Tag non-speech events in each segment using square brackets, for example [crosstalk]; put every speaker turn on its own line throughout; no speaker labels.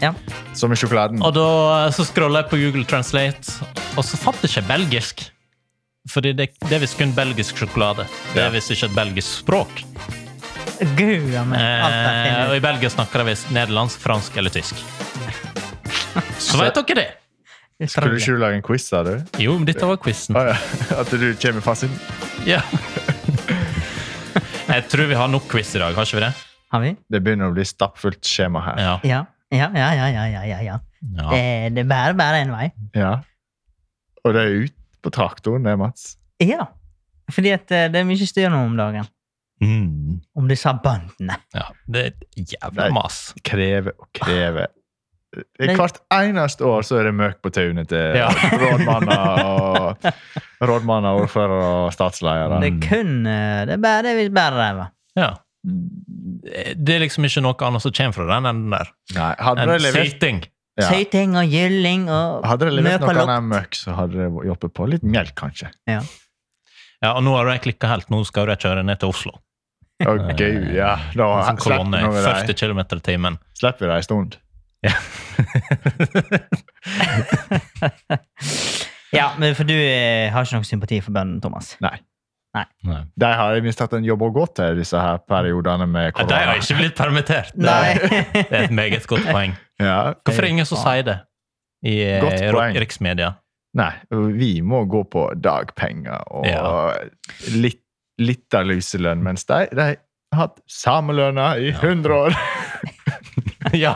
ja.
Som i sjokoladen.
Og da eh, så scrolla jeg på Google Translate, og så fant jeg ikke belgisk. Fordi det, det er visst kun belgisk sjokolade. Det
Ja.
er visst ikke et belgisk språk.
Gud a meg. Alt er
Eh, og
fint.
i Belgia snakker de visst nederlandsk, fransk eller [laughs] tysk. Så veit dere det!
Skulle du ikke lage en quiz, sa du?
Jo, men dette var quizen.
Å ja. [laughs] At du kommer fast inn?
Ja. [laughs] Jeg tror vi har nok quiz i dag, har ikke vi det?
Har vi?
Det begynner å bli stappfullt skjema her.
Ja. Eh,
Ja. Ja, ja, ja, ja, ja, ja. ja.
ja.
Det, det bærer bare en vei.
Ja. Og det er ut på traktoren, det, Mats.
Ja. Fordi at eh, det er mye styr nå om dagen.
Mm.
Om disse bandene.
ja. Det er et jævla
Nei.
mas.
Kreve og kreve. Det
Men-
er hvert eneste år så er det møk på taunet til
Ja.
rådmanner
[laughs]
og rådmanner, ordførere og statsledere.
Det er kun eh, Det er bare det vi bærer ræva.
Ja. Det er liksom ikke noe annet som kommer fra den enden der.
Nei, hadde
En
de levert,
syting.
ja.
Søyting og gylling og
hadde de levert noe
møkalopp.
annet møkk, så hadde de hjulpet på litt melk, kanskje.
Ja, og nå har jeg klikka helt. Nå skal jeg kjøre ned til Oslo.
Ok, ja. Da
En sånn
slipper
kolonne.
vi dem.
40 km i timen.
Slipper vi dem en stund.
Ja, men for du eh, har ikke noen sympati for bøndene, Thomas.
Nei.
De har i minst hatt en jobb å gå til, disse her periodene med
Ja, De
korona.
har ikke blitt permittert.
Nei. [laughs]
Det er et meget godt poeng.
Ja.
Hvorfor er det ingen som sier det i,
Godt
eh,
poeng.
riksmedia?
Nei, vi må gå på dagpenger og
Ja.
litt, litt av luselønn, mens de, de har hatt samelønna i 100 år. [laughs]
Ja!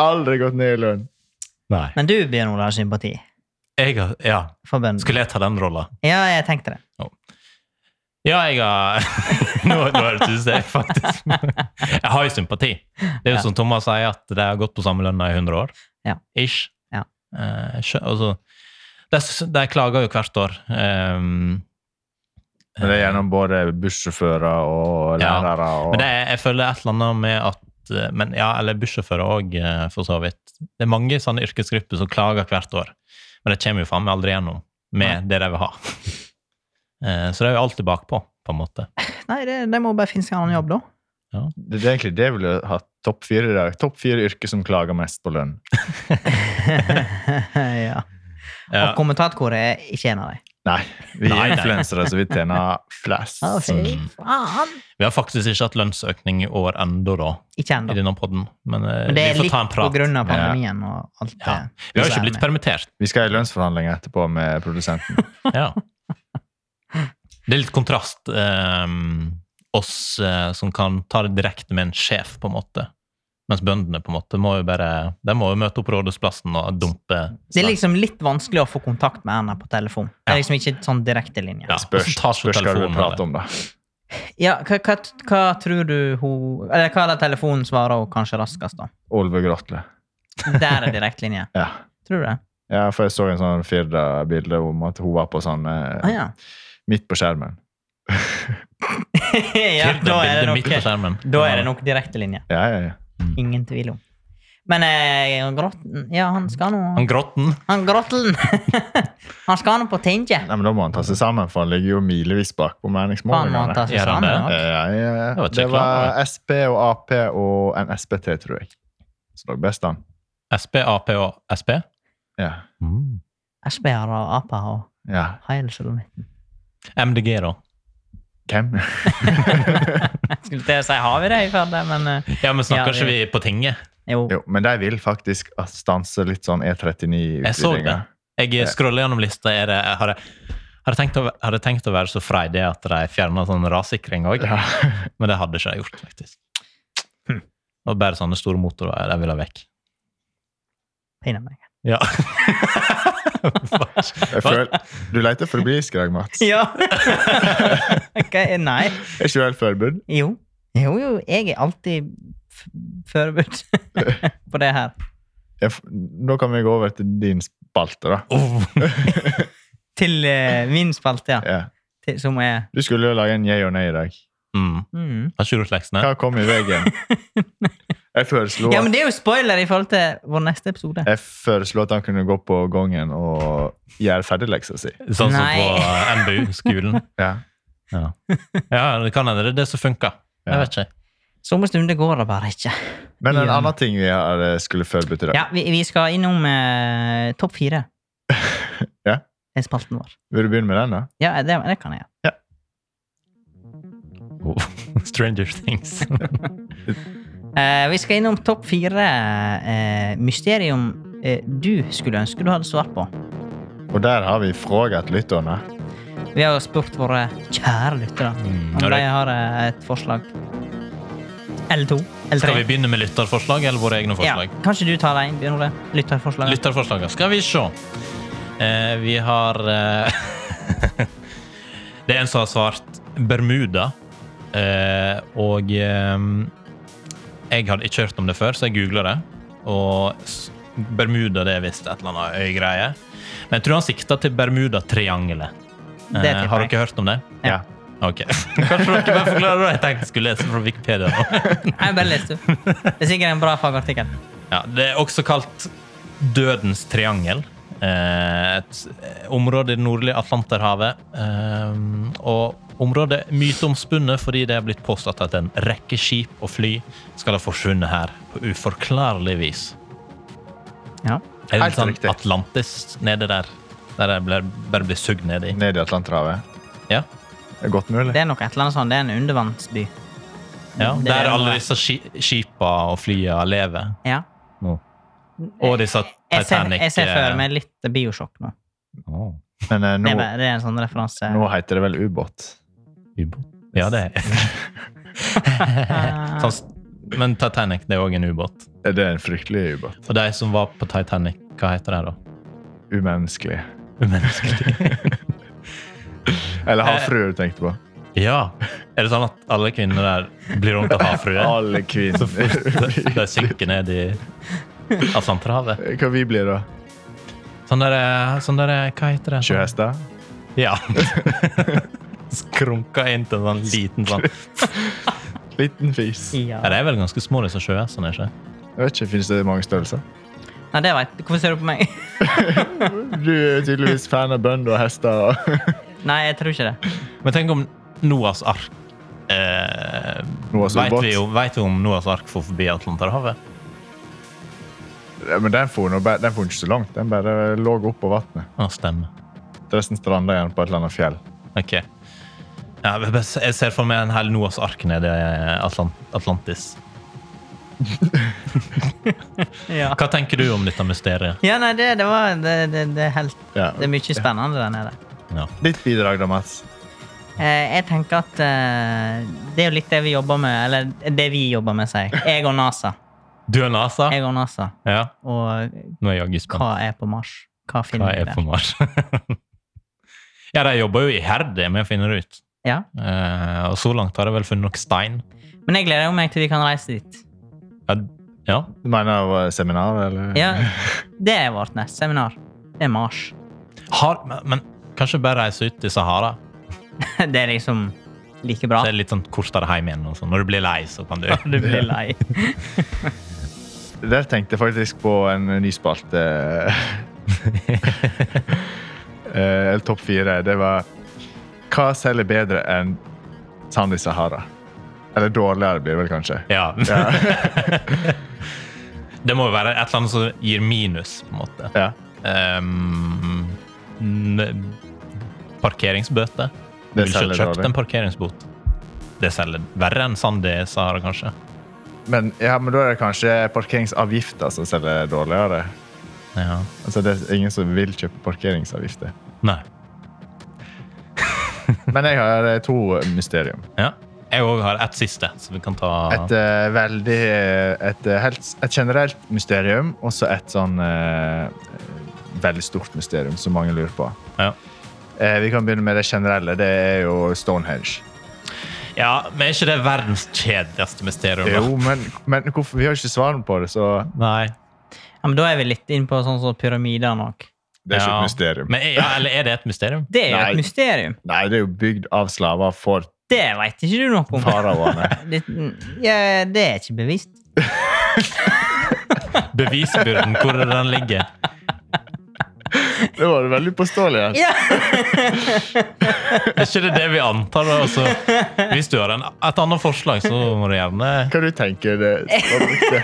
Aldri gått ned i lønn.
Nei.
Men du, Bjørn Olav, har sympati
Jeg har, ja.
for bøndene.
Skulle jeg ta den rolla?
Ja, jeg tenkte det.
Ja, jeg har [laughs] Nå, nå hørtes det faktisk Jeg har jo sympati. Det er jo
Ja.
som Thomas sier, at de har gått på samme lønna i 100 år.
Ja.
Ish.
Ja.
Eh, skjø- altså, de, s- de klager jo hvert år. Um,
Men det er gjennom både bussjåfører og
Ja.
lærere. Og,
eh, Men det, er- jeg føler et eller annet med at eh, men ja, Eller bussjåfører òg, for så vidt. Det er mange sånne yrkesgrupper som klager hvert år, men de kommer jo faen meg aldri gjennom med det de vil ha. [laughs] Eh, så de er jo alltid bakpå, på en
[laughs]
måte.
Nei, det, de må bare finne seg en annen jobb, da.
det er egentlig det jeg ville ha topp fire i dag. Topp fire yrker som klager mest på lønn.
[laughs] ja. Og kommentatkoret er ikke en av dem.
Nei, vi
Nei,
er
nei.
influensere, så vi tjener flest.
Å, fy
Mm.
faen!
Vi har faktisk ikke hatt lønnsøkning i år ennå, da.
Ikke
i
ennå.
denne podden, men, eh,
Men det er
vi får
litt
ta en
på
prat.
grunn av
Ja.
pandemien og alt det.
Ja. Vi har jo ikke blitt permittert.
Vi skal i lønnsforhandlinger etterpå med produsenten.
Ja. Det er litt kontrast. ehm, oss eh, som kan ta det direkte med en sjef, på en måte. Mens bøndene på en måte må jo bare, de må jo møte opp Rådhusplassen og dumpe.
Det er liksom litt vanskelig å få kontakt med henne på telefon. Det er liksom ikke sånn direktelinje.
Ja, og
Spørs,
så tar hun
spørs hva du vil
telefonen,
prate
eller?
om, da.
Ja, hva, hva, hva tror du hun Eller hva er det telefonen svarer hun kanskje raskest, da?
Olve Grotle.
Der er direktelinje.
Ja.
Tror du det?
ja, for jeg så en sånn Firda-bilde om at hun var på sånn eh,
Ah, ja.
midt på skjermen.
ja,
Kirk,
da er det
bildet midt på
nok,
skjermen.
da er det nok direktelinje.
Ja, ja, ja.
Ingen tvil om. Men eh, Grotten Ja, han skal nå
Han Grotten.
Han Grotlen! [laughs] han skal nå på Tinge.
Nei, men Da må han ta seg sammen, for han ligger jo milevis bak på
Faen, må han
meningsmålingene.
ta seg
Gjør han
sammen
det?
nok?
Ja, ja, ja.
Det var
Det
ikke klart,
var SP og Ap og NSPT, tror jeg. Så lå best an.
SP, Ap og SP.
Ja.
Mm. Asbjørn og Apa og
ja.
Heil Solomitten.
MDG, da.
Hvem?
Jeg skulle til å si har vi det i Førde, men eh,
Ja, men
Ja,
snakker
det-
ikke vi på tinget?
jo.
Jo, men de vil faktisk at stanse litt sånn
Jeg så det.
E39-utvidinga.
Jeg scroller gjennom lista. Er det, har, jeg, har, jeg tenkt å, har jeg tenkt å være så freidig at de fjerna sånn rassikring òg?
[laughs] Ja. Hm.
Men det hadde ikke jeg gjort, faktisk. Det var bare sånne store motorveier de ville
[laughs]
ha vekk.
Pinner meg.
Ja. Fuck.
Jeg føler, du leter forbi skrag, Mats.
[laughs] [laughs] Ja! Ok, Nei.
Er ikke du helt forberedt?
Jo. Jo, jo. Jeg er alltid f- forberedt [laughs] på det her.
Jeg f- Da kan vi gå over til din spalte, da.
Oh.
Til eh, min spalte, ja.
Ja.
Til, som er
Du skulle jo lage en jeg og nei i dag.
Mm.
mm.
Har ikke du gjort leksene?
Hva kom i
[laughs]
veien? Jeg foreslo,
Ja, men det er jo spoiler i forhold til vår neste episode.
jeg foreslo at han kunne gå på gangen og gjøre ferdig leksa si.
Sånn som
Nei.
på
[laughs]
[laughs] eh, NBU-skolen.
Ja.
Ja. ja, det kan hende det er det som funker. Jeg vet ikke.
Somme stunder går det bare ikke.
Men en
Ja.
annen ting vi har, eh, skulle forberedt i dag.
Ja, vi, vi skal innom eh, topp
[laughs]
fire.
Ja.
Det er spalten vår.
Vil du begynne med den, da?
Ja, det, det kan jeg.
Oh. Stranger
[laughs]
Things.
Eh, vi skal innom topp fire eh, mysterium eh, du skulle ønske du hadde svar på. Mm.
Og der har vi frågat lytterne.
Vi har jo spurt våre kjære lyttere
Mm.
om
Ja,
de
det-
har eh, et forslag. Eller to. Eller
Skal
tre.
vi begynne med lytterforslag eller våre egne
Ja,
forslag?
kanskje du tar deg inn, Bjørn Ole? Lytterforslag.
Lytterforslagene. Skal vi se. Eh, vi har eh, [laughs] Det er en som har svart Bermuda. Eh, og eh, jeg hadde ikke hørt om det før, så jeg googla det. Og s- Bermuda det er visst et eller annet øygreie. Men jeg tror han sikta til Bermudatriangelet.
Det
Eh,
tipper
har
jeg.
dere hørt om det?
Ja.
Ok. [laughs] Kanskje dere bare forklarer det? Jeg tenkte jeg skulle lese fra Wikipedia. nå.
Nei, bare les, du.
[laughs]
Det er sikkert en bra fagartikkel.
Ja, det er også kalt Dødens triangel. Eh, Et område i det nordlige Atlanterhavet. Eh, Og området er myteomspunnet fordi det er blitt påstått at en rekke skip og fly skal ha forsvunnet her på uforklarlig vis.
Ja.
Er det
Helt
sånn
riktig.
Atlantis nede der? Der jeg ble, bare blir sugd ned i?
Ned i Atlanterhavet.
Ja.
Det er godt mulig.
Det er nok et eller annet sånn. Det er en undervannsby.
ja
Det er
der alle
noe.
disse ski- skipa og flya lever.
Ja.
nå. Og disse
Jeg ser,
Titanic eh,
jeg ser for meg litt biosjokk nå.
Åh,
Men eh,
Det er,
nå,
bare- det er en sånn referanse.
nå heter det vel ubåt.
ubåt. Ja, det [laughs] er sånn, Men Titanic det er òg en ubåt.
Er Eh, det en fryktelig ubåt?
Og de som var på Titanic, hva heter de da?
Umenneskelig.
Umenneskelig.
Eller
Eh.
havfrue du tenkte på.
[laughs] ja. Er det sånn at alle kvinner der blir rundt av havfrue?
Alle kvinner.
De- De synker ned i Atlanterhavet.
[laughs] Hva vi blir da?
Sånn der, eh, sånn der eh, Hva heter det?
Sjøhester?
Ja. [laughs] Skrunka inn til en sånn liten sånn
Liten fis. Jeg
Ja,
Ja.
De er vel ganske små, disse sjøhestene? ikke?
vet ikke, Finnes det mange størrelser?
Nei, det vet jeg. Hvorfor ser du på meg? [laughs]
Du er tydeligvis fan av bønder og [laughs] hester.
Nei, jeg tror ikke det.
Men tenk om Noas ark eh,
Noahs
vet
ubåt?
vi, jo, vet vi om Noas ark får forbi Atlanterhavet?
Ja, Men den for, nå bare- den for ikke så langt. Den bare lå opp på vannet.
Ja, stemmer.
Resten stranda igjen på et eller annet fjell.
Ok. Ja, men bare se- jeg ser for meg en hel Noas ark nede i Atlant Atlantis.
Ja.
Hva tenker du om dette mysteriet?
Ja, nei, det, det var det, det, det, er helt,
Ja.
det er mye spennende der nede.
Ja.
Ditt bidrag da, Mats.
Eh, jeg tenker at eh, det er jo litt det vi jobber med, eller det vi jobber med, sier jeg. Jeg og NASA.
Du og NASA?
Jeg og NASA.
Ja,
Og
nå er jeg jaggu spent.
hva er på Mars? Hva
Hva
finner vi
er på
der?
Mars? [laughs] ja, de jobber jo iherdig med å finne det ut.
Ja.
Eh, og så langt har de vel funnet nok stein.
Men jeg gleder jo meg til vi kan reise dit.
Ja, ja.
Du mener av eh, seminar, eller?
[laughs]
Ja, det er vårt neste seminar. Det er Mars. [laughs]
Har, men, men kanskje bare reise ut i Sahara?
Det er liksom like bra.
Så er det litt sånn kortere hjem igjen. Og sånn. Når du blir lei, så kan du
[laughs] Du blir lei.
Der tenkte jeg faktisk på en ny spalte. Eh, Eller topp fire. Det var Hva selger bedre enn sand i Sahara? Eller dårligere, blir det vel kanskje. [laughs]
Ja. [laughs] det må jo være et eller annet som gir minus, på en måte.
Ja,
Ehm, n- parkeringsbøte. Du
Det
ville ikke
selger
kjøpt en
dårlig.
parkeringsbot. Det selger verre enn sand i Sahara, kanskje.
Men, ja, men da er det kanskje parkeringsavgifter som selger dårligere.
Ja.
Altså, det er ingen som vil kjøpe parkeringsavgifter.
Nei.
Men jeg har eh, to mysterium.
Ja. Jeg òg har ett siste, så vi kan ta
Et eh, veldig et, eh, helt, et generelt mysterium, og så et sånn eh, veldig stort mysterium som mange lurer på.
ja.
Eh, vi kan begynne med det generelle. Det er jo Stonehenge.
Ja, men er ikke det verdens kjedeligste mysterium? da?
Jo, men, men hvorfor, vi har ikke svaren på det, så
Nei.
Ja, men da er vi litt inne på sånn som pyramidene òg.
det er ikke
Ja.
et mysterium.
Men er, ja, eller er det et mysterium?
Det er jo
Nei.
et mysterium.
Nei, det er jo bygd av slaver for
Det veit ikke du noe om. [laughs]
faraoene.
Det, ja, det er ikke bevist.
Bevisbyrden, hvor er det den ligger?
Det var veldig påståelig. her.
[laughs] Ja.
Er ikke det det vi antar? da? Altså, hvis du har en, et annet forslag, så må du gjerne
Hva du tenker du? Det,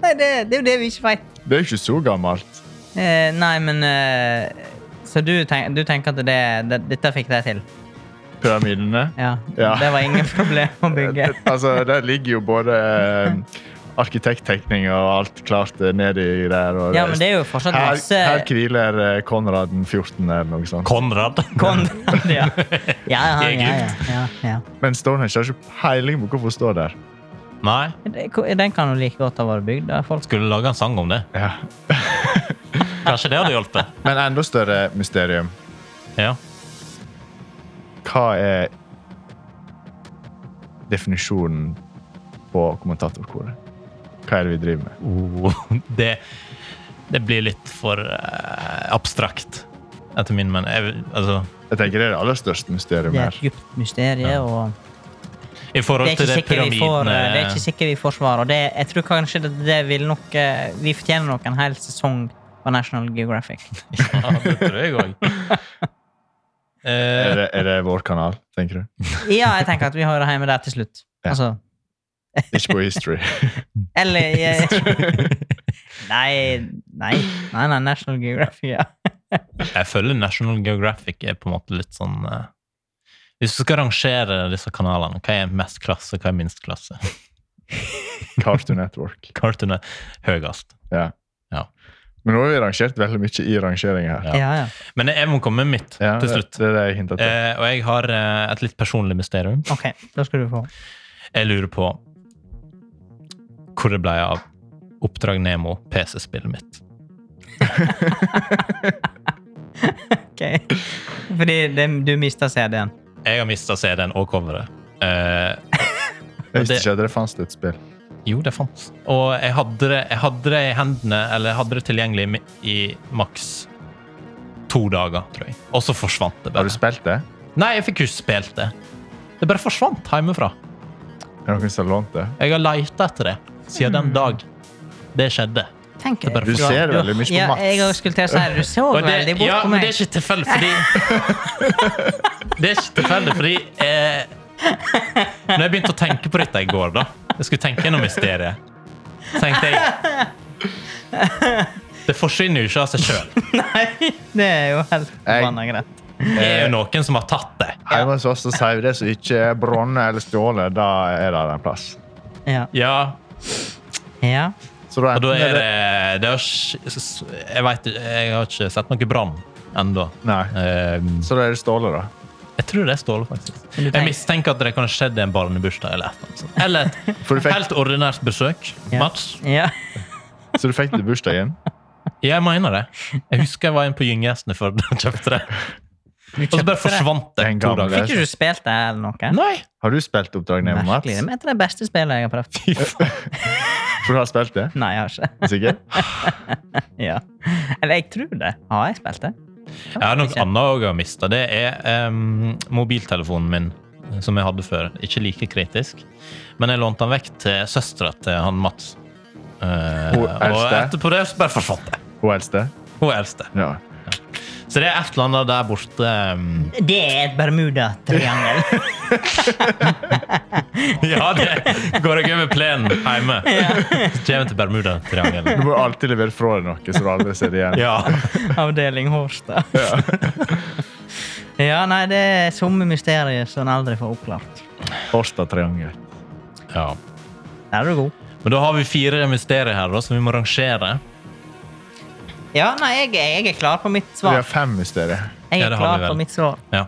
Nei, det, det er jo det vi ikke veit.
det er jo ikke så gammelt.
Eh, nei, men eh, Så du, tenk, du tenker at det, det, dette fikk de til?
Pyramidene.
Ja.
Ja.
Det var ingen [laughs] problem å bygge.
altså, der ligger jo både eh, arkitekttegninger og alt klart eh, nedi der. Og
Ja, men det er jo fortsatt
her,
masse
her hviler eh, Konrad den 14. eller noe sånt.
Konrad.
Konrad, [laughs] ja. Ja,
[laughs]
ja, ja,
I Egypt.
ja, ja,
Men Stonehenge har ikke peiling på hvorfor det står der.
Nei,
ja. Den kan jo like godt ha vært bygd av folk.
skulle lage en sang om det.
Ja.
Kanskje det hadde hjulpet?
Men enda større mysterium.
Ja.
Hva er definisjonen på kommentatorkoret? Hva er det vi driver med?
Oh, det, det blir litt for eh, abstrakt, etter min mening. Jeg- Altså,
Jeg tenker Det er det aller største mysterium
Det er
her.
et dypt mysterium. og
I forhold
det er,
til
ikke
det
sikkert vi får, eh,
pyramidene
det er ikke sikkert vi får svar. Og det, jeg tror kanskje det, det vil nok eh, Vi fortjener nok en hel sesong på National
[laughs]
Geographic.
[laughs] Ja, det tror jeg Eh, òg.
[laughs]
Er det, er det vår kanal, tenker du?
Ja, jeg tenker at vi hører hjemme der til slutt.
Ja.
Altså,
Ikke på history. [laughs]
eller
[laughs]
eh, Nei, nei, nei, nei National Geographic, ja.
Jeg føler National Geographic er på en måte litt sånn eh, Hvis du skal rangere disse kanalene, hva er mest klasse, hva er minst klasse? [laughs]
Cartoon Network.
Cartoon er høyest.
Ja.
Ja.
Men nå har vi rangert veldig mye i rangeringen her.
Ja.
ja, ja.
Men jeg må komme med mitt
Ja,
til
det-
slutt.
Det er det jeg hintet til.
Eh, og jeg har eh, et litt personlig mysterium.
OK, da skal du få.
Jeg lurer på hvor det ble av Oppdrag Nemo, PC-spillet mitt.
Ok. Fordi det, du mista CD-en.
Jeg har mista CD-en og coveret. Eh,
Jeg visste
det-
ikke at det fantes et spill.
Jo, det fantes. Og jeg hadde det, jeg hadde det i hendene, eller jeg hadde det tilgjengelig i mi- i maks to dager, tror jeg. Og så forsvant det
Har
bare.
du spilt det?
Nei, jeg fikk jo ikke spilt det. Det bare forsvant hjemmefra.
Er det noen som har lånt det?
Jeg har leita etter det siden
Hmm.
den dag det skjedde.
Tenk
Det er bare
Du ser veldig mye på
Ja,
Mats.
jeg skulle til å si det. Du så
Og
veldig
det,
bort
ja,
på
men
meg.
det er ikke tilfeldig,
[laughs]
fordi Det er ikke tilfeldig, fordi eh, Når jeg begynte å tenke på dette i går, da Jeg skulle tenke gjennom mysteriet. så
[laughs]
Tenkte jeg Det forsvinner jo ikke av seg sjøl.
Nei, det er jo helt
Jeg-
forbanna greit.
Det er jo noen som har tatt det.
Hjemme hos oss så sier vi det som ikke er bronne eller stjålet, da er det en plass.
Ja.
Ja,
ja.
Så da
og da
enten
er det, det er, ikke- Jeg vet ikke, jeg har ikke sett noe brann ennå.
Nei.
Eh,
Så da er det stjålet, da.
Jeg tror det er Ståle, faktisk.
Men du
Jeg
tenk-
mistenker at det kan ha skjedd i en barnebursdag eller et eller annet. sånt. Eller et
For du fikk-
helt ordinært besøk.
Ja.
Mats,
ja.
Så du fikk det i bursdagen?
jeg mener det. Jeg husker jeg var inne på Gyngestene før og kjøpte det. Og så bare forsvant det
Den
to
gamle.
dager.
Fikk ikke du spilt det eller noe?
Nei!
Har du spilt Oppdrag Nemo, Mats?
Merkelig. Det er et av de beste spillene jeg har prøvd. [laughs]
Fy faen.
For du har spilt det?
Nei, jeg har ikke. [laughs]
Sikker?
Ja. Eller jeg tror det. Har jeg spilt det?
Jeg har noe annet også jeg har mista. Det er em, mobiltelefonen min, eh, som jeg hadde før. Ikke like kritisk. Men jeg lånte den vekk til søstera til han Mats. [laughs] Eh,
Hun
og
eldste?
etterpå det så bare forsvant det.
Hun eldste?
Hun er eldste.
Ja.
Så det er et eller annet der borte um,
Det er et Bermuda-triangel.
[laughs] Ja, det går jeg over plenen hjemme. Så kommer jeg til Bermuda-triangelen.
Du må alltid levere fra deg noe, så du aldri ser det igjen.
Ja.
[laughs] Avdeling Hårstad. [laughs] Ja, nei, det er somme mysterier som en aldri får oppklart.
Horstad-triangel.
ja.
Der er du god.
Men da har vi fire mysterier her da, som vi må rangere.
Ja, nei, jeg, jeg er klar på mitt
Vi har
svar.
fem mysterier.
Jeg
Ja,
er
det har vi
klar
vel.
på mitt svar.
Ja.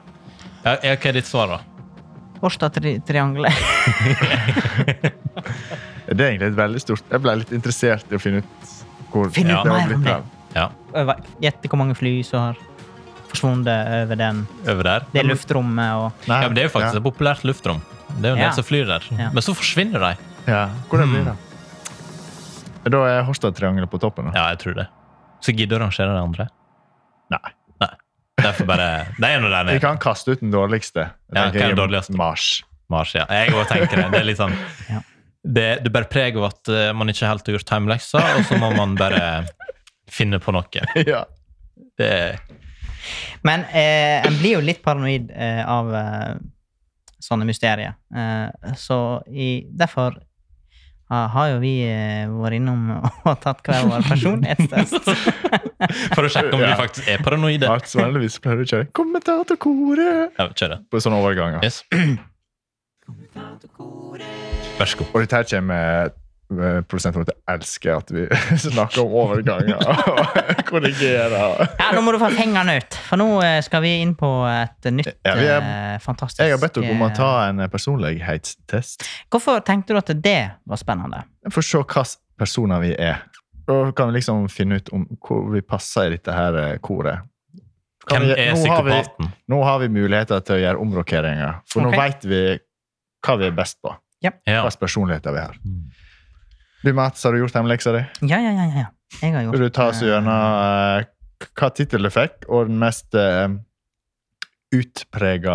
Ja, ja, hva er ditt svar, da?
Hårstad-triangelet. [laughs]
Det er egentlig et veldig stort Jeg ble litt interessert i å finne ut hvor
Finne ut
det
mer
var
om
blitt
det.
av.
Ja,
Gjett hvor mange fly som har forsvunnet over den,
Over der?
det luftrommet. og
Nei,
Ja, men Det er jo faktisk
ja.
et populært luftrom. Det er jo en
Ja.
del som flyr der.
Ja.
Men så forsvinner de.
Ja, hvordan blir
Hmm.
det? Men Da er Horstad-triangelet på toppen. Da.
Ja, jeg tror det. Så gidder å rangere de andre.
Nei.
Derfor bare
[laughs]
Det er nå der
Vi
nede.
kan kaste ut den dårligste. Jeg
Ja,
tenker
hva er den
jeg-
dårligste?
Mars.
Mars, ja. Jeg òg tenker det. Det er litt sånn
Ja.
det, det bærer preg av at eh, man ikke helt har gjort timeleksa, og så må man bare finne på noe.
[laughs] ja.
Det,
Men eh, en blir jo litt paranoid eh, av eh, sånne mysterier. Eh, så i, derfor ha- har jo vi eh, vært innom [laughs] og tatt hver vår personlighetstest.
[laughs]
for å sjekke om
Ja.
vi faktisk er paranoide.
Mats vanligvis pleier å kjøre 'kommentatorkoret'
Ja, kjør det.
på sånne overganger.
Yes. Vær så god.
Og dette her kommer eh, produsenten vår til å elske at vi [laughs] snakker om overganger og [laughs] korrigerer.
Ja, nå må du få fingrene ut, for nå eh, skal vi inn på et nytt
Ja, vi
eh, fantastisk
Jeg har bedt dere om å
eh,
ta en personlighetstest.
Hvorfor tenkte du at det var spennende?
For å se hvilke personer vi er. Da kan vi liksom finne ut om hvor vi passer i dette her eh, koret. Kan
Hvem
vi-
er
nå har vi-
psykopaten?
Nå har vi muligheter til å gjøre omrokeringer, for
Ok.
nå veit vi hva vi er best på.
Ja.
Hva slags personligheter vi har. Du, Mats, har du gjort hjemmeleksa di?
Ja, ja, ja. ja. Jeg har gjort
Vil du ta oss
eh,
gjennom eh, k- hva tittel du fikk, og den mest eh, utprega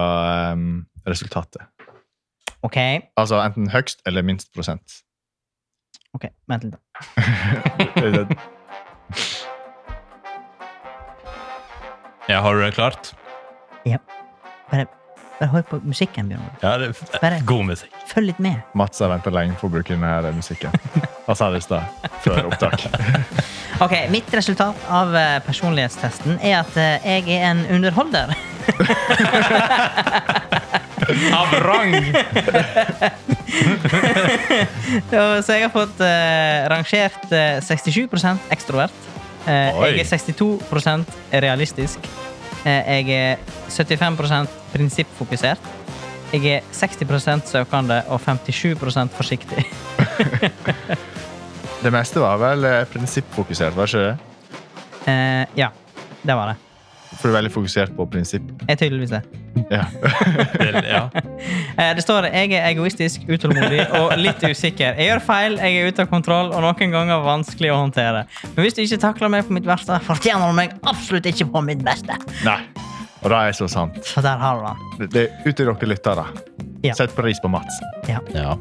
eh, resultatet?
eh, Ok,
Altså enten høgst eller minst prosent.
ok, vent litt. da.
ja,
ja, har du det klart?
Bare, bare hør på musikken, Bjørn.
Ja, det er
Bare-
god musikk.
Følg litt med.
Mats har venta lenge på å bruke denne her musikken. Han sa det i stad, før opptak.
[laughs] Ok, Mitt resultat av eh, personlighetstesten er at eh, jeg er en underholder. [laughs]
Av rang!
Og Så jeg har fått eh, rangert eh, 67 ekstrovert. Eh,
Oi.
jeg er 62 realistisk. Eh, jeg er 75 prinsippfokusert. Jeg er 60 søkende og 57 forsiktig. [laughs]
Det meste var vel eh, prinsippfokusert, var ikke det?
Eh, ja, det var det.
For du er veldig fokusert på prinsipp.
Jeg er tydeligvis det.
Ja. [laughs]
Det- Ja.
Eh, Det står jeg er egoistisk, utålmodig og litt usikker. Jeg gjør feil, jeg er ute av kontroll og noen ganger vanskelig å håndtere. Men hvis du ikke takler meg på mitt verste, fortjener du meg absolutt ikke på mitt beste.
Nei. Og det er så sant.
Så der har du den.
Det, det er ut til dere lyttere.
Ja.
Sett pris på Mats.
Ja.
ja.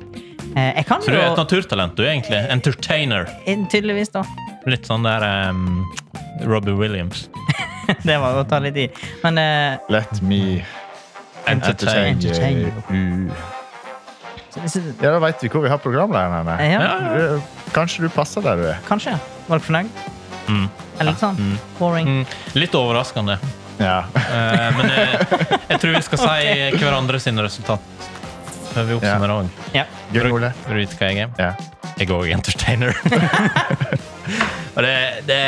Eh, Jeg kan
Så du er et
jo
naturtalent, du, egentlig. Entertainer.
Tydeligvis, da. [laughs]
Litt sånn der ehm, Robbie Williams.
Det var å ta litt i. Men eh,
Let me entertain,
Entertain.
Entertain
you.
så, så,
Ja, da veit vi hvor vi har programlederen.
eh, ja,
Ja, ja.
Du, Kanskje du passer der du er.
kanskje. Var dere fornøyd?
Mm.
Er litt sånn boring.
Mm. Litt overraskende.
Ja. [laughs]
Eh, men jeg, jeg tror vi skal si hverandre sine resultat før vi oppsummerer òg.
Ja.
Gunn Ole.
Vil du vite hva jeg er?
Ja.
Jeg er òg entertainer. Og det, det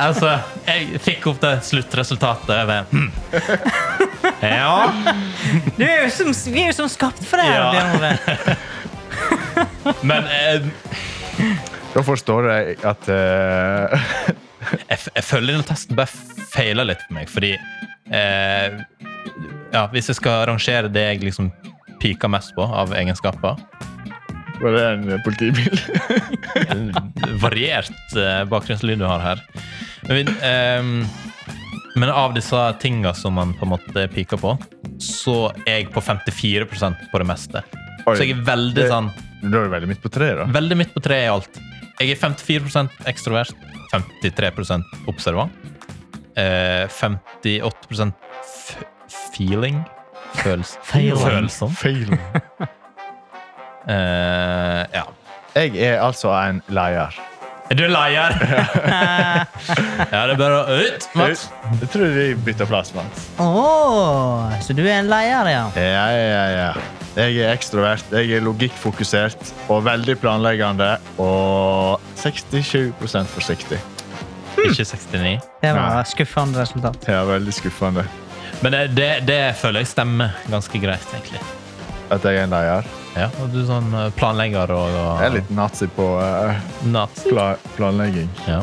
Altså, jeg fikk opp det sluttresultatet ved hm. Ja,
Du er jo som, vi er jo som skapt for det!
Ja.
her, Bjørn Ole.
[laughs] men eh,
Da forstår jeg at eh, [laughs]
jeg, f- jeg føler den testen bare feiler litt for meg, fordi eh, ja, Hvis jeg skal rangere det jeg liksom piker mest på av egenskaper
Var det en politibil? [laughs]
Variert eh, bakgrunnslyd du har her. Men, vi- ehm, men av disse tinga som man på en måte piker på, så er jeg på 54 på det meste.
Oi.
Så jeg er veldig
Det-
sånn
Da er du veldig midt på treet, da.
Veldig midt på treet i alt. Jeg er 54 ekstrovert, 53 observant, eh, 58 f feeling Føls
Feeling.
Følsom. [laughs]
Feil.
Eh, ja.
Jeg er altså en leier.
Er du
[laughs]
leier? ja, det er bare å ut, Mats.
Jeg tror vi bytter plass, Mats.
Åh, så du er en leier, ja?
Ja, ja, ja. Jeg er ekstrovert, jeg er logikkfokusert og veldig planleggende og 67 forsiktig.
Ikke 69.
Det
Ja.
var skuffende resultat.
Det er veldig skuffende
Men det, det, det føler jeg stemmer ganske greit, egentlig.
at jeg er en leier.
Ja, og du er sånn eh, planlegger og, og
Jeg er litt nazi på eh,
nazi.
pla planlegging.
Ja.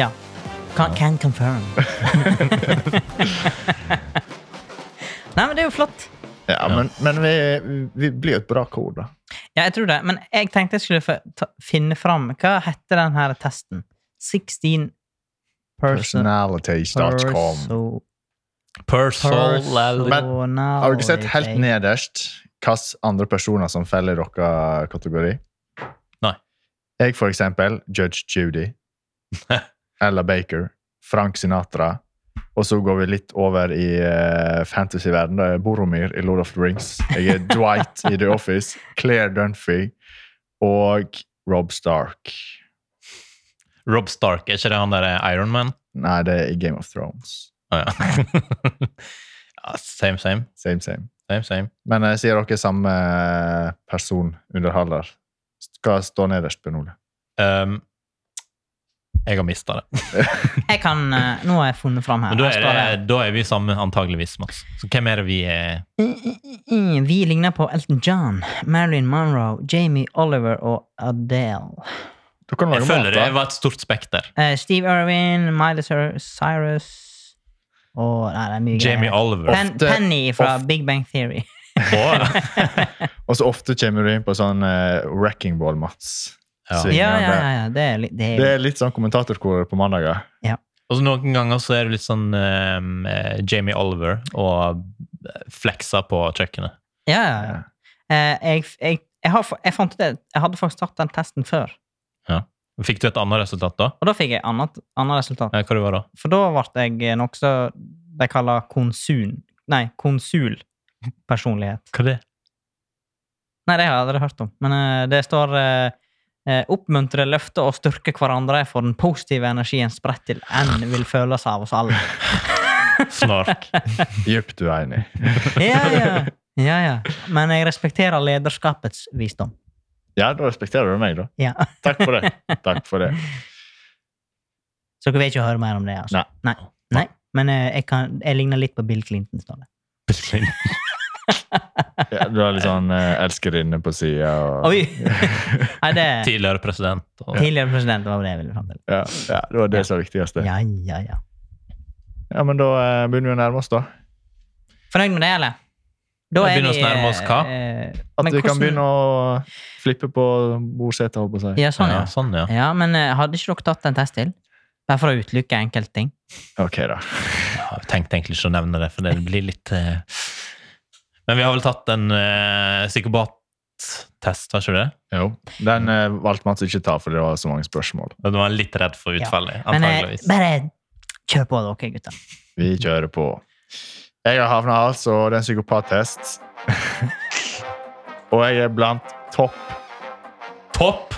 Ja. Can, can
[laughs]
confirm. Nei, men det er jo flott.
Ja, men, men vi, vi blir et bra kor, da.
Ja, jeg tror det. Men jeg tenkte jeg skulle få ta, finne fram Hva heter den her testen? 16 person,
Personalities.com.
perso,
Personal
Har du ikke sett helt
personality.
nederst hvilke andre personer som feller i deres kategori?
Nei.
Jeg, for eksempel, Judge Judy. Ella Baker. Frank Sinatra. Og så går vi litt over i eh, fantasyverden. Det er Boromir i Lord of the Rings. Jeg er Dwight i The Office. Claire Dunphy. Og Rob Stark.
Rob Stark, er ikke det han der er Iron Man?
Nei, det er i Game of Thrones.
Å ja. [laughs] ja. Same, same.
Same, same.
Same, same.
Men eh, sier dere samme eh, person underholder? Skal stå nederst, Ben Ole.
Um, jeg har mista det.
Jeg kan, eh, nå har jeg funnet fram her.
Men da
Her
er,
står
det, da er vi sammen antageligvis, Mats. Så hvem er det vi er?
Mm, Vi ligner på Elton John, Marilyn Monroe, Jamie Oliver og Adele.
Du kan
Jeg
lage
føler
mat,
det
da.
var et stort spekter.
Eh, Steve Irwin, Miley Cyr- Cyrus og Nei, det er mye
Jamie
greier.
Oliver.
Pen,
Ofte-
Penny fra
ofte-
Big Bang Theory.
Å.
Og så ofte kommer du inn på sånn eh, wrecking ball, Mats.
Ja.
Svingende.
Ja, ja, ja. ja. Det er, litt- det er,
Det er litt sånn kommentatorkoret på mandager.
[laughs] Og så noen ganger så er det litt sånn um, eh, Jamie Oliver og eh, flekser på kjøkkenet.
ja, ja, ja. Eh, jeg, jeg, jeg, har, fa- jeg fant ut det. Jeg hadde faktisk tatt den testen før.
Fikk du et annet resultat da?
Og da fikk jeg annet, annet resultat.
Eh, Hva det var da?
For da ble jeg eh, nokså de kaller konsun... Nei, konsulpersonlighet.
Hva er det?
Nei, det har jeg aldri hørt om. Men eh, det står eh, eh, 'Oppmuntre, løfte og styrke hverandre for den positive energien spredt til en vil føles av oss alle'.
Snark.
Djupt uenig.
ja, ja.
[laughs]
ja, ja. Men jeg respekterer lederskapets visdom.
Ja, da respekterer du meg, da.
Ja.
Takk for
[laughs]
det. Takk for det.
Så dere vil ikke høre mer om det? altså?
Nei.
Nei. Nei. Men eh, jeg, kan, jeg ligner litt på Bill Clinton, står det.
Ja, du har litt sånn eh, elskerinne på sida og
[laughs]
Oi! Nei, det
Tidligere president. Og,
Tidligere president var det jeg ville fram til.
ja, ja, det var det som var det viktigste.
Ja, ja, ja.
Ja, men da eh, begynner vi å nærme oss, da.
Fornøyd med det, eller? Da eh,
Vi begynner å nærme oss hva?
At vi kan begynne å flippe på bordsetet, holdt på å si.
Ja, sånn, ja.
ja, sånn, ja.
Ja, men eh, hadde ikke dere tatt en test til? Bare for å utelukke enkeltting.
Ok, da.
Ja, Jeg tenkte egentlig ikke å nevne det, for det blir litt eh, Men vi har vel tatt en eh, psykopat-test, har ikke det?
Jo. Den eh, valgte Mats ikke ta, for det var så mange spørsmål.
Du var litt redd for
Ja.
utfallet,
Men eh,
antageligvis.
bare kjør på, dere gutter.
Vi kjører på. Jeg har havna altså det er en psykopattest. [laughs] og jeg er blant topp.
Topp!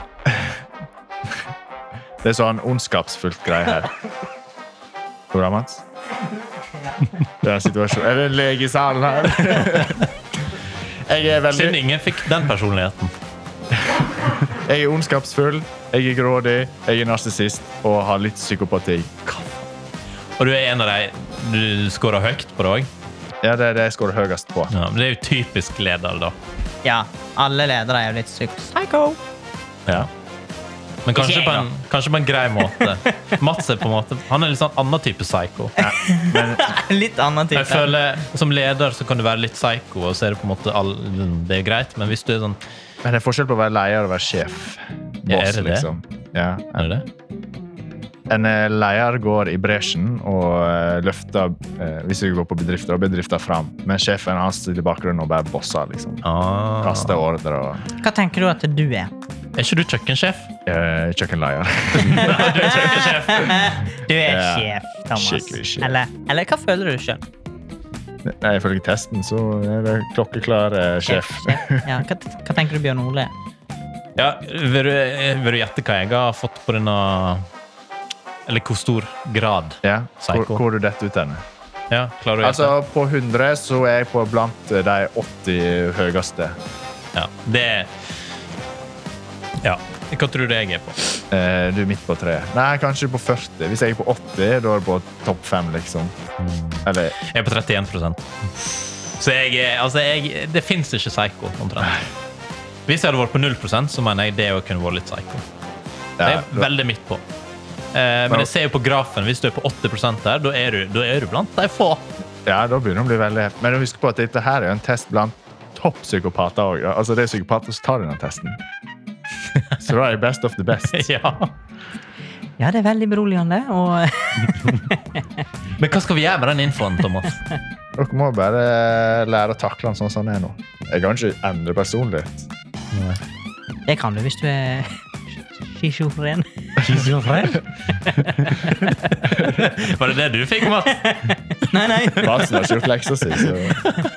Det er sånn ondskapsfullt greie her. Går det bra, Mats? Det er en situasjon. Er det en lege i salen her? [laughs] jeg er veldig
Siden ingen fikk den personligheten.
Jeg er ondskapsfull, jeg er grådig, jeg er narsissist og har litt psykopati.
Og du er en av de du scorer høyt på det òg.
Ja, det er det jeg scorer høyest på.
Ja, men det er jo typisk leder, da.
Ja, alle ledere er jo litt psyk- psycho.
Men kanskje
Ikke jeg,
på, en, kanskje på en grei måte.
[laughs]
Mats er på en måte Han er litt sånn annen type psycho.
[laughs] Litt annen
Jeg
type.
føler Som leder så kan du være litt psycho, og så er det på en måte all, Det er greit, men hvis du er sånn
Men det er forskjell på å være leder og å være sjef.
Ja, er
Boss,
det det?
liksom. Ja.
Er det det?
En eh, leder går i bresjen og eh, løfter eh, hvis vi går på bedrifter, og bedrifter fram. Men sjefen hans sitter i bakgrunnen og bare bosser. liksom.
Ah.
Kaster ordre og
Hva tenker du at du er?
Er ikke du kjøkkensjef?
eh, kjøkkenleder.
Du er kjøkkensjef.
Du er
Ja.
sjef, Thomas.
Skikkelig sjef.
Eller, eller hva føler du sjøl?
[laughs] Nei, Ifølge testen så er det klokkeklar eh, sjef.
Ja, hva, hva tenker du Bjørn Ole? er?
Ja, vil du, vil du gjette hva jeg har fått på denne Eller hvor stor grad?
Ja, hvor,
Psycho.
hvor du detter ut henne.
Ja, klarer du å gjette?
Altså, på 100 så er jeg på blant eh, de 80 høyeste.
Ja, det Ja. Hva tror du jeg er på?
Eh, du er midt på tre. Nei, kanskje på 40. Hvis jeg er på 80, da er det på topp fem, liksom. Eller
Jeg er på 31 Så jeg, er- altså jeg, det fins ikke psycho, omtrent. Hvis jeg hadde vært på 0 så mener jeg det òg kunne vært litt psycho. Det
ja,
er veldig midt på. Eh, men jeg ser jo på grafen, hvis du er på 80 der, da er du, da er du blant de få.
Ja, da begynner det å bli veldig heft. Men husk på at dette her er jo en test blant toppsykopater òg. Altså, det er psykopater som tar denne testen. Så da er det best of the best.
[laughs] ja.
Ja, det er veldig beroligende. Og [laughs]
Men hva skal vi gjøre med den infoen, Thomas?
Dere må bare lære å takle den sånn som den er nå. Jeg kan ikke endre personlighet.
det kan du hvis du er [laughs] skisjofren.
[laughs] Var det det du fikk, Mats?
Nei, nei.
Basen har ikke gjort leksa si, så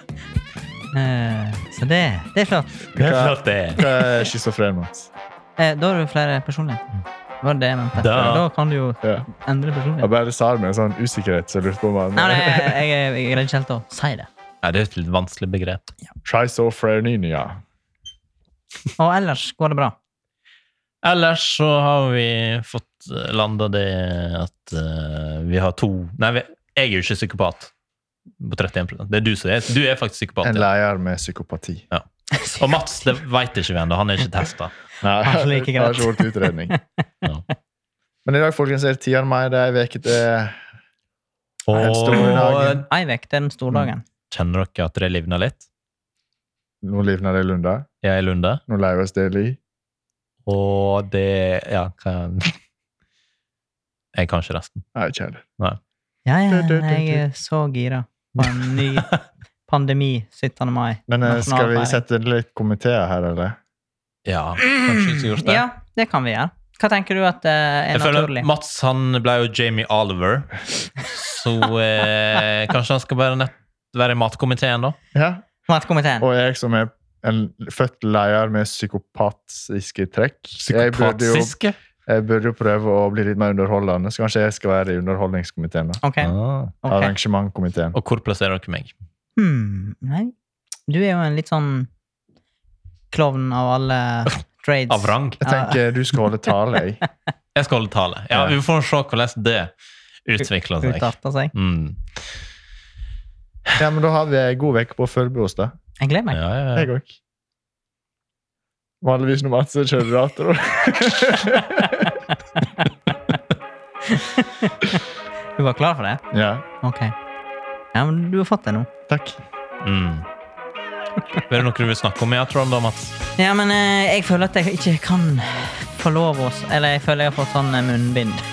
Eh, Så det, det er flott.
Det er flott, det.
hva er schizofren, Mats?
Eh, Da har du flere personligheter. Var det det jeg mente?
Da-
Da kan du jo
Mm. Ja.
endre
Jeg
personlighet.
bare sa det med en sånn usikkerhet, så jeg lurte på om
Nei, nei,
han
jeg, jeg, jeg greide ikke helt å si det.
Ja, det er et litt vanskelig begrep.
Trisophreninia.
Og ellers går det bra.
Ellers så har vi fått landa det at eh, vi har to Nei, vi, jeg er jo ikke psykopat på 31 Det er du som er Du er faktisk psykopat.
En
Ja.
leier med psykopati.
Og Mats det veit ikke vi ennå. Han er ikke testa.
Nei,
Kanskje like
det har
greit.
ikke vært
[laughs]
utredning.
Ja.
Men i dag, folkens, er det 10. mai. Det er ei uke til Den store dagen.
Og
Ei vekk, det er den
Mm.
store dagen.
kjenner dere at det livner litt?
Nå livner det i lunda.
Jeg er Lunde.
Nå leies det li.
Og det Ja, hva Jeg kan ikke resten.
Nei, ikke heller.
Ja, ja,
Du, du, du,
jeg er så gira på
[laughs]
en ny pandemi 17. mai.
Men eh, skal vi
Nasjonalfeiring.
sette litt komiteer her, eller?
Ja, kanskje ikke gjort det.
Ja, det kan vi gjøre. Hva tenker du at eh, er
Jeg føler
naturlig?
Mats han ble jo Jamie Oliver, så eh, kanskje han skal bare nett være i matkomiteen, da?
Ja.
Matkomiteen.
Og jeg som er en født leier med psykopatiske trekk jeg burde, jo,
Psykopatiske.
jeg burde jo prøve å bli litt mer underholdende, så kanskje jeg skal være i underholdningskomiteen. da.
Ok.
Ah.
ok.
Arrangementkomiteen.
Og hvor plasserer dere meg?
Hmm, nei. Du er jo en litt sånn klovn av alle
[laughs]
trades.
Av rang?
Jeg tenker du skal holde tale,
[laughs]
jeg.
Jeg skal holde tale. Ja,
Ja.
Vi får se hvordan det utvikler seg.
Utarter seg.
Mm.
Ja, men da har vi ei god uke på å forberede oss, da.
Jeg gleder
Ja,
meg.
ja, ja.
Jeg òg. Vanligvis når Mats er kjøredator.
Du var klar for det?
ja.
Ok. Ja, men du har fått det nå.
Takk.
Mm. Er det noe du vil snakke om i Atron, da, Mats?
Ja, men eh, jeg føler at jeg ikke kan få lov å s- Eller jeg føler jeg har fått sånn eh, munnbind.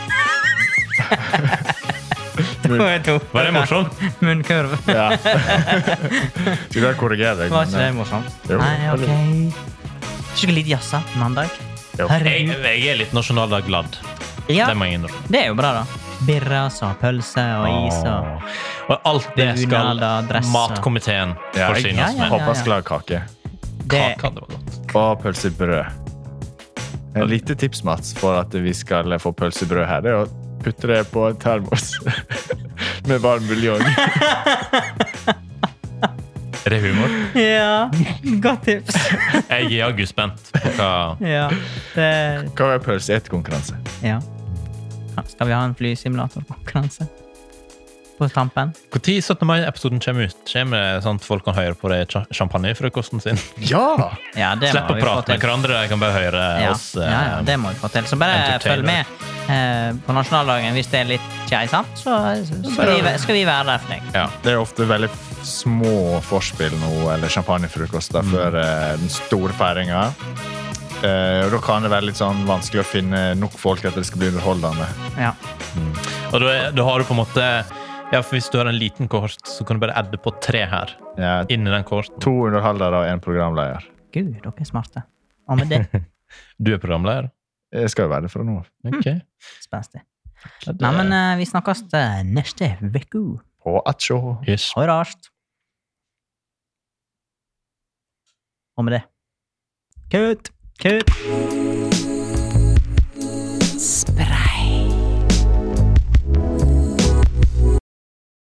Det [laughs] var to.
Var det morsomt?
Munnkurv.
[laughs]
Ja. Skulle jeg korrigere deg?
Var ikke det
men, eh,
morsomt?
Jo.
Nei, ok. Skulle litt jazza på mandag.
Jo.
Jeg,
Herregud.
jeg er litt nasjonaldag-glad.
Ja,
Det må jeg innrømme.
det er jo bra, da. Birras og pølse og is og
Åh. Og alt det skal
Bunader, dress og-
matkomiteen
Ja, jeg-
forsyne oss
Ja, ja,
med.
ja.
Håpasklagkake
det-
Kaka, det var godt.
og pølsebrød. Et lite tips, Mats, for at vi skal få pølsebrød her, det er å putte det på en termos [laughs] med varm buljong.
Er det humor?
Ja, godt tips. [laughs]
Jeg er jaggu spent på hva
ja, det,
Hva er pølseetekonkurranse?
ja. Ja, Skal vi ha en flysimulatorkonkurranse på tampen?
Når 17. mai-episoden kommer ut, kommer det sånn at folk kan høre på det i cha- champagnefrokosten sin?
Ja!
Ja, det
Slipp å
vi få
prate med
til.
hverandre, de kan bare høre
Ja,
oss. eh,
ja, ja, det må vi få til. Så bare
entertainer.
følg med eh, på nasjonaldagen hvis det er litt keisant, så så skal vi, væ- skal vi være der for deg.
ja.
Det er ofte veldig f- små forspill nå, eller champagnefrokoster, før eh, den store feiringa. Eh, og da kan det være litt sånn vanskelig å finne nok folk til at det skal bli underholdende.
Ja.
Og da, er- da har du på en måte ja, for Hvis du har en liten kohort, så kan du bare adde på tre her.
Ja,
Inn i den kohorten.
to underholdere og én programleder.
Gud, dere er smarte. Og med det
[laughs] Du er programleder?
Jeg skal jo være det fra nå av.
Ok.
Mm. spenstig.
Ja, det-
Nei, men eh, vi snakkes eh, neste uke.
På atsjå!
Yes.
Ha det arst. Og med det Kutt! Kutt!